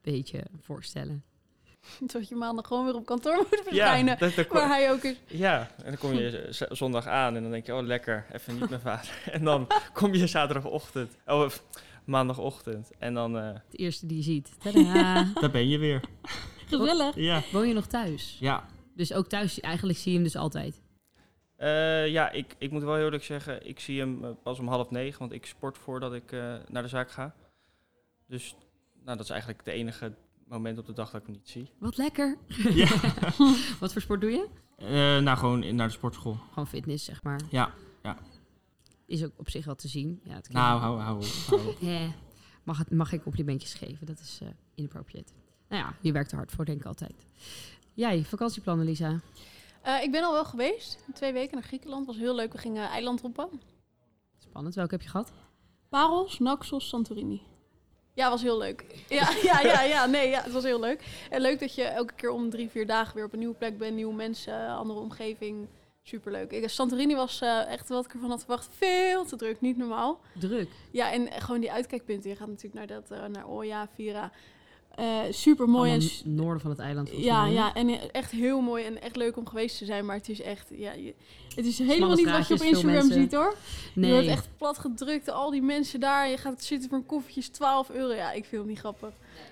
Speaker 2: beetje voorstellen.
Speaker 4: Dat je maandag gewoon weer op kantoor moet
Speaker 3: Ja,
Speaker 4: verschijnen.
Speaker 3: dat- dat kom-
Speaker 4: Waar hij ook is.
Speaker 3: ja, en dan kom je z- zondag aan en dan denk je, oh lekker, even niet mijn vader. En dan kom je zaterdagochtend, oh f- maandagochtend. En dan, eh,
Speaker 2: Het eerste die je ziet. Tadaa.
Speaker 6: Daar ben je weer.
Speaker 5: Gezellig.
Speaker 6: Ja,
Speaker 2: Woon je nog thuis?
Speaker 6: ja.
Speaker 2: Dus ook thuis, eigenlijk zie je hem dus altijd.
Speaker 3: eh, ja, ik, ik moet wel heel eerlijk zeggen, ik zie hem eh, pas om half negen, want ik sport voordat ik eh, naar de zaak ga. Dus, nou, dat is eigenlijk het enige moment op de dag dat ik hem niet zie.
Speaker 2: Wat lekker.
Speaker 6: Ja.
Speaker 2: Wat voor sport doe je?
Speaker 6: Eh, nou, gewoon in- naar de sportschool.
Speaker 2: Gewoon fitness, zeg maar.
Speaker 6: Ja, ja.
Speaker 2: Is ook op zich wel te zien. Ja, het kan-
Speaker 6: Nou, hou, hou, hou. op.
Speaker 2: Hè. Mag, het, mag ik complimentjes geven? Dat is eh, inappropriate. Nou ja, je werkt er hard voor, denk ik altijd. Jij, vakantieplannen, Lisa.
Speaker 4: Eh, ik ben al wel geweest. Twee weken naar Griekenland. was heel leuk. We gingen eilandhoppen.
Speaker 2: Spannend. Welke heb je gehad?
Speaker 5: Paros, Naxos, Santorini.
Speaker 4: Ja, was heel leuk. Ja, ja, ja, ja, nee, ja, het was heel leuk. En leuk dat je elke keer om drie, vier dagen weer op een nieuwe plek bent, nieuwe mensen, andere omgeving. Superleuk. Ik, Santorini was eh, echt wat ik ervan had verwacht. Veel te druk, niet normaal.
Speaker 2: Druk.
Speaker 4: Ja, en gewoon die uitkijkpunten. Je gaat natuurlijk naar, dat, eh, naar Eh, Oya, Vira.
Speaker 5: super mooi
Speaker 2: Allemaal
Speaker 5: en
Speaker 2: n- noorden van het eiland. volgens
Speaker 5: Ja,
Speaker 2: mij.
Speaker 5: ja,
Speaker 4: En eh, echt heel mooi en echt leuk om geweest te zijn. Maar het is echt, ja, je,
Speaker 5: het is helemaal niet wat je op
Speaker 2: straatjes, veel
Speaker 5: Instagram
Speaker 2: mensen.
Speaker 5: ziet hoor.
Speaker 4: je
Speaker 2: Nee,
Speaker 4: wordt echt plat gedrukt. Al die mensen daar. Je gaat zitten voor een koffietje, is 12 euro. Ja, ik vind het niet grappig.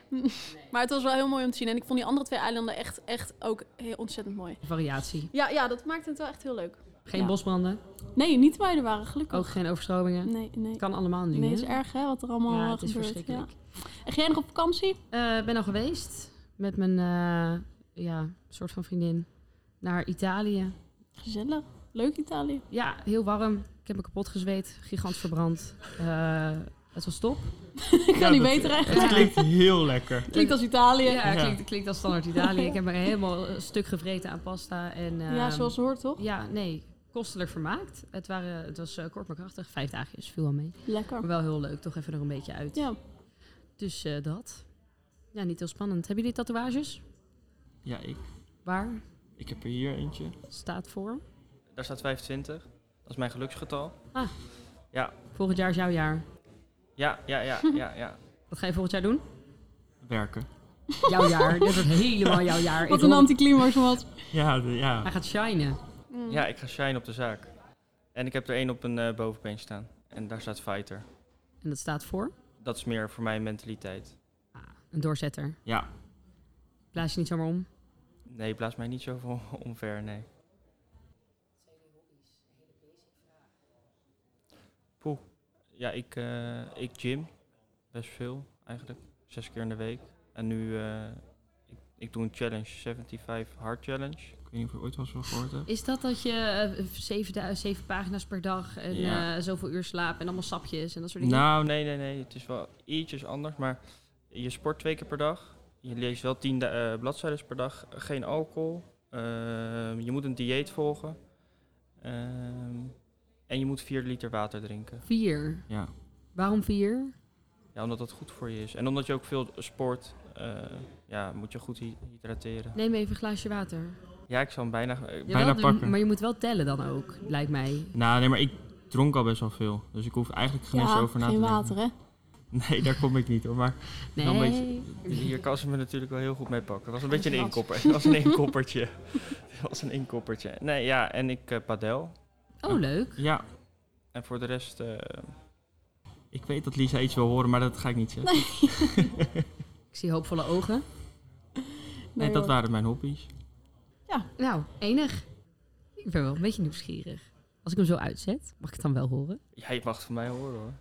Speaker 4: maar het was wel heel mooi om te zien. En ik vond die andere twee eilanden echt, echt ook heel ontzettend mooi.
Speaker 2: variatie.
Speaker 4: Ja, ja, dat maakt het wel echt heel leuk.
Speaker 2: Geen
Speaker 5: Ja.
Speaker 2: bosbranden.
Speaker 5: Nee, niet beide waren gelukkig.
Speaker 2: Ook geen overstromingen.
Speaker 5: Nee, nee.
Speaker 2: Kan allemaal nu.
Speaker 5: Nee,
Speaker 2: hè?
Speaker 5: het is erg hè, wat er allemaal
Speaker 2: ja,
Speaker 5: eh,
Speaker 2: het is
Speaker 5: gebeurt.
Speaker 2: verschrikkelijk.
Speaker 5: Ja. En ga jij nog op vakantie?
Speaker 2: Eh, ben al geweest met mijn eh, ja, soort van vriendin naar Italië.
Speaker 5: Gezellig. Leuk Italië.
Speaker 2: Ja, heel warm. Ik heb me kapot gezweet, gigant verbrand. Eh, het was top.
Speaker 5: Ik kan
Speaker 6: Ja,
Speaker 5: niet
Speaker 6: dat-
Speaker 5: beter eigenlijk.
Speaker 6: Het klinkt heel lekker.
Speaker 5: Klinkt als Italië. Ja,
Speaker 2: Ja,
Speaker 6: Ja.
Speaker 2: klinkt, klinkt als standaard Italië. Ik heb me helemaal een stuk gevreten aan pasta. En, ehm,
Speaker 5: zoals het hoort toch?
Speaker 2: Ja, nee. Kostelijk vermaakt. Het, waren, het was eh, kort maar krachtig. Vijf dagjes, viel wel mee. Maar
Speaker 5: Lekker.
Speaker 2: wel heel leuk. Toch even er een beetje uit.
Speaker 5: Ja.
Speaker 2: Dus eh, dat. Ja, niet heel spannend. Hebben jullie tatoeages?
Speaker 6: Ja, ik,
Speaker 2: Waar
Speaker 6: ik heb er hier eentje.
Speaker 2: staat voor?
Speaker 3: Daar staat 25. Dat is mijn geluksgetal.
Speaker 2: Volgend jaar is jouw jaar.
Speaker 3: Ja, ja, ja, ja, ja.
Speaker 2: Wat ga je volgend jaar doen?
Speaker 6: Werken.
Speaker 2: Jouw jaar. Dit wordt helemaal jouw jaar.
Speaker 5: Wat
Speaker 2: Ik
Speaker 5: een
Speaker 2: hoor-
Speaker 5: anticlimax, wat.
Speaker 6: Ja, de- ja.
Speaker 2: Hij gaat shinen.
Speaker 4: Mm.
Speaker 3: Ja, ik ga shine op de zaak. En ik heb er één op een eh bovenbeen staan. En daar staat fighter.
Speaker 2: En dat staat voor?
Speaker 3: Dat is meer voor mijn mentaliteit.
Speaker 2: Ah, een doorzetter.
Speaker 6: Ja.
Speaker 2: Blaas je niet zomaar om.
Speaker 3: Nee, blaas mij niet zo omver, nee. Poeh. Ja, ik, eh, ik gym. Best veel, eigenlijk. Zes keer in de week. En nu, eh, ik, ik doe een challenge, 75 hard challenge.
Speaker 6: Ik weet niet of je ooit wel eens van gehoord hebt.
Speaker 2: Is dat dat je eh, zeven, da- zeven pagina's per dag en
Speaker 6: Ja.
Speaker 2: eh, zoveel uur slaap en allemaal sapjes en dat soort dingen?
Speaker 3: Nou, nee, nee, nee. Het is wel ietsjes anders. Maar je sport twee keer per dag. Je leest wel tien eh, bladzijden per dag. Geen alcohol. Ehm, je moet een dieet volgen. Ehm, en je moet vier liter water drinken.
Speaker 2: Vier.
Speaker 6: Ja.
Speaker 2: Waarom vier?
Speaker 3: Ja, omdat dat goed voor je is. En omdat je ook veel sport. eh, ja, moet je goed hy- hydrateren.
Speaker 2: Neem even een glaasje water.
Speaker 3: Ja, ik zal hem bijna... eh,
Speaker 2: Jawel,
Speaker 6: Bijna
Speaker 2: d-
Speaker 6: pakken.
Speaker 2: Maar je moet wel tellen dan ook, lijkt mij.
Speaker 6: Nou, nee, maar ik dronk al best wel veel. Dus ik hoef eigenlijk geen eens
Speaker 5: Ja,
Speaker 6: over na te
Speaker 5: geen
Speaker 6: denken.
Speaker 5: water hè.
Speaker 6: Nee, daar kom ik niet hoor. Maar
Speaker 2: Nee.
Speaker 6: wel een beetje...
Speaker 3: Hier kan ze me natuurlijk wel heel goed mee pakken. Het was een beetje een inkopper. Het was een inkoppertje. Het was een inkoppertje. Nee, ja. En ik eh, padel.
Speaker 2: Oh, leuk.
Speaker 6: Ja,
Speaker 3: En voor de rest... eh,
Speaker 6: ik weet dat Lisa iets wil horen, maar dat ga ik niet zeggen.
Speaker 2: Ik zie hoopvolle ogen.
Speaker 6: Nee, dat
Speaker 5: hoor.
Speaker 6: waren mijn hobby's.
Speaker 2: Nou, enig. Ik ben wel een beetje nieuwsgierig. Als ik hem zo uitzet, mag ik het dan wel horen?
Speaker 3: Ja, je mag het van mij horen hoor.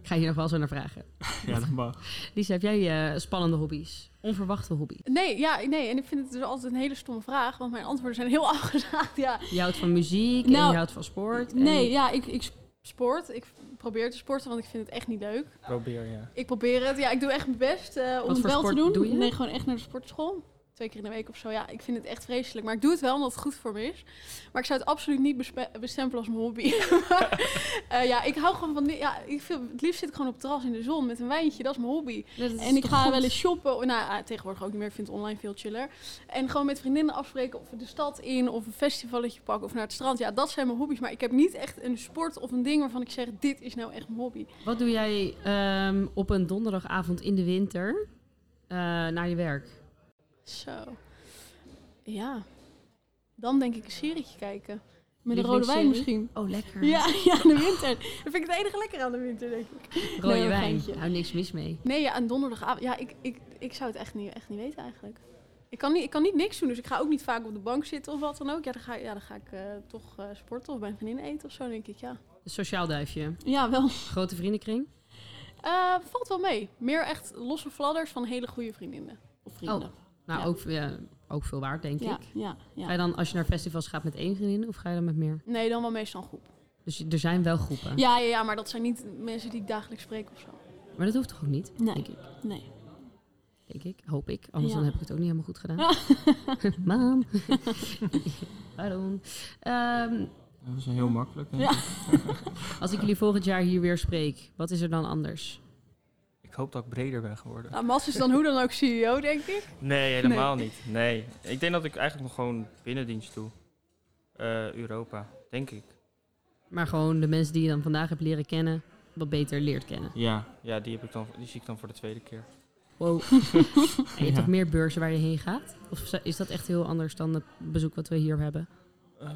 Speaker 2: Ik ga hier nog wel zo naar vragen.
Speaker 6: Ja, dat mag.
Speaker 2: Lisa, heb jij eh, spannende hobby's? Onverwachte hobby's?
Speaker 4: Nee, ja, nee. En ik vind het dus altijd een hele stomme vraag, want mijn antwoorden zijn heel afgezaagd. Ja,
Speaker 2: Je houdt van muziek en
Speaker 5: Nou,
Speaker 2: je houdt van sport. en-
Speaker 5: Nee, ja, ik,
Speaker 4: ik sport. Ik probeer te sporten, want ik vind het echt niet leuk.
Speaker 3: Probeer, ja.
Speaker 4: Ik probeer het. Ja, ik doe echt mijn best eh, om
Speaker 2: Wat
Speaker 4: het
Speaker 2: voor
Speaker 4: wel te
Speaker 2: sport
Speaker 4: doen.
Speaker 2: doe je?
Speaker 5: nee, gewoon echt naar de sport.
Speaker 4: Sportschool. twee keer in de week of zo. Ja, ik vind het echt vreselijk. Maar ik doe het wel omdat het goed voor me is. Maar ik zou het absoluut niet bespe- bestempelen als mijn hobby. Maar, eh, ja, ik hou gewoon van... ni- Ja, ik vind, het liefst zit ik gewoon op het terras in de zon met een wijntje. Dat is mijn hobby. En ik ga wel eens shoppen. Nou, ah, tegenwoordig ook niet meer. Ik vind het online veel chiller. En gewoon met vriendinnen afspreken of de stad in of een festivalletje pakken of naar het strand. Ja, dat zijn mijn hobby's. Maar ik heb niet echt een sport of een ding waarvan ik zeg, dit is nou echt mijn hobby.
Speaker 2: Wat doe jij ehm, op een donderdagavond in de winter eh, naar je werk?
Speaker 4: Zo. Ja. Dan denk ik een serietje kijken.
Speaker 5: Met een rode wijn
Speaker 2: Lievelingsserie?
Speaker 5: misschien.
Speaker 2: Oh, lekker.
Speaker 4: Ja, ja, de winter. Dat vind ik het enige lekker aan de winter, denk ik.
Speaker 2: Rode
Speaker 4: Nee, een
Speaker 2: wijn.
Speaker 4: geintje.
Speaker 2: Nou, niks mis mee.
Speaker 4: Nee, ja, een donderdagavond. Ja, ik, ik, ik zou het echt niet, echt niet weten eigenlijk. Ik kan niet, ik kan niet niks doen, dus ik ga ook niet vaak op de bank zitten of wat dan ook. Ja, dan ga, ja, dan ga ik eh, toch eh, sporten of bij een vriendin eten of zo, denk ik, ja.
Speaker 2: Een sociaal duifje.
Speaker 5: Ja, wel.
Speaker 2: Grote vriendenkring.
Speaker 4: Eh, valt wel mee. Meer echt losse fladders van hele goede vriendinnen. Oh, Of vrienden.
Speaker 2: Nou,
Speaker 5: Ja.
Speaker 2: ook, ja, ook veel waard, denk
Speaker 5: Ja,
Speaker 2: ik.
Speaker 5: ja,
Speaker 2: Ga je
Speaker 5: ja.
Speaker 2: dan, als je naar festivals gaat, met één vriendin of ga je dan met meer?
Speaker 4: Nee, dan wel meestal een groep.
Speaker 2: Dus je- er zijn wel groepen.
Speaker 4: Ja, ja, ja, maar dat zijn niet mensen die ik dagelijks spreek of zo.
Speaker 2: Maar dat hoeft toch ook niet,
Speaker 5: Nee,
Speaker 2: denk ik.
Speaker 5: nee.
Speaker 2: Denk ik, hoop ik. Anders
Speaker 5: Ja.
Speaker 2: dan heb ik het ook niet helemaal goed gedaan. Mam. Pardon. Ehm,
Speaker 6: Dat is heel makkelijk. Denk ik.
Speaker 2: als ik jullie volgend jaar hier weer spreek, wat is er dan anders?
Speaker 3: Ik hoop dat ik breder ben geworden.
Speaker 4: Nou, Mas is dan hoe dan ook CEO, denk ik.
Speaker 3: Nee, helemaal niet. Nee. Ik denk dat ik eigenlijk nog gewoon binnendienst doe. Eh, Europa, denk ik.
Speaker 2: Maar gewoon de mensen die je dan vandaag hebt leren kennen, wat beter leert kennen.
Speaker 6: Ja,
Speaker 3: Ja, die, heb ik dan, die zie ik dan voor de tweede keer.
Speaker 2: Wow. en je hebt
Speaker 6: Ja.
Speaker 2: toch meer beurzen waar je heen gaat? Of zo- is dat echt heel anders dan het bezoek wat we hier hebben?
Speaker 3: Eh,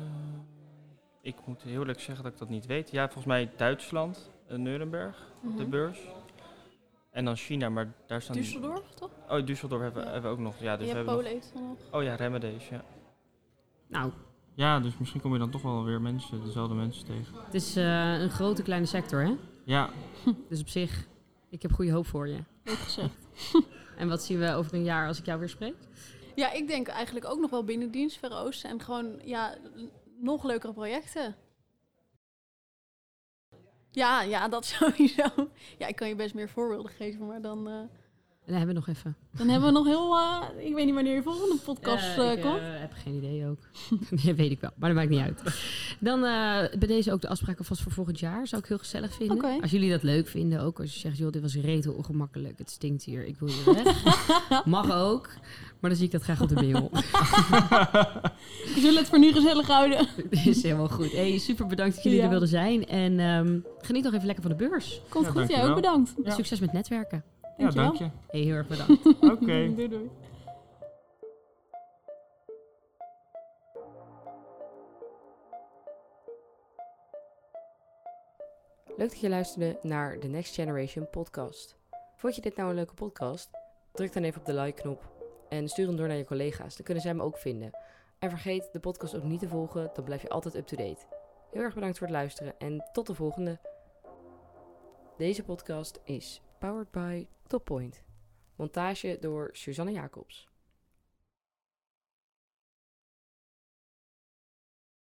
Speaker 3: ik moet heel eerlijk zeggen dat ik dat niet weet. Ja, volgens mij Duitsland, eh, Nuremberg, de
Speaker 4: Mhm.
Speaker 3: beurs. En dan China, maar daar staan...
Speaker 4: Düsseldorf, toch?
Speaker 3: Oh, Düsseldorf hebben,
Speaker 4: Ja.
Speaker 3: hebben we ook nog. Ja, dus
Speaker 4: ja,
Speaker 3: we hebben
Speaker 4: Polen
Speaker 3: nog...
Speaker 4: heeft dan nog.
Speaker 3: Oh ja, Remedies, ja.
Speaker 2: Nou,
Speaker 6: ja, dus misschien kom je dan toch wel weer mensen, dezelfde mensen tegen.
Speaker 2: het is eh, een grote kleine sector, hè?
Speaker 6: Ja,
Speaker 2: Dus op zich, ik heb goede hoop voor je.
Speaker 5: Leuk gezegd.
Speaker 2: En wat zien we over een jaar als ik jou weer spreek?
Speaker 4: Ja, ik denk eigenlijk ook nog wel binnendienst, Verre Oosten. En gewoon, ja, n- nog leukere projecten. Ja, ja, dat sowieso. Ja, ik kan je best meer voorbeelden geven, maar dan... eh,
Speaker 2: En dan hebben we nog even.
Speaker 5: Dan hebben we nog heel... eh, ik weet niet wanneer je volgende podcast
Speaker 2: Eh,
Speaker 5: eh,
Speaker 2: ik
Speaker 5: komt.
Speaker 2: eh, heb geen idee ook. nee, weet ik wel, maar dat maakt niet uit. Dan eh bij deze ook de afspraken vast voor volgend jaar. Zou ik heel gezellig vinden.
Speaker 5: Oké.
Speaker 2: Als jullie dat leuk vinden, ook als je zegt, joh, dit was rete ongemakkelijk. Het stinkt hier, ik wil hier weg. Mag ook, maar dan zie ik dat graag op de mail.
Speaker 5: We zullen het voor nu gezellig houden.
Speaker 2: Dat is helemaal goed. Hey, super bedankt dat jullie
Speaker 5: Ja.
Speaker 2: er wilden zijn. En ehm, geniet nog even lekker van de beurs.
Speaker 5: Komt
Speaker 6: Ja,
Speaker 5: goed, jij
Speaker 6: dankjewel.
Speaker 5: ook bedankt.
Speaker 6: Ja.
Speaker 2: Succes met netwerken.
Speaker 6: ja
Speaker 5: Dankjewel.
Speaker 6: dank je.
Speaker 2: Hey, heel erg bedankt.
Speaker 6: Oké.
Speaker 5: Doei, doei.
Speaker 1: Leuk dat je luisterde naar de Next Generation podcast. Vond je dit nou een leuke podcast? Druk dan even op de like-knop en stuur hem door naar je collega's. Dan kunnen zij hem ook vinden. En vergeet de podcast ook niet te volgen, dan blijf je altijd up-to-date. Heel erg bedankt voor het luisteren en tot de volgende. Deze podcast is powered by Toppoint. Montage door Suzanne Jacobs.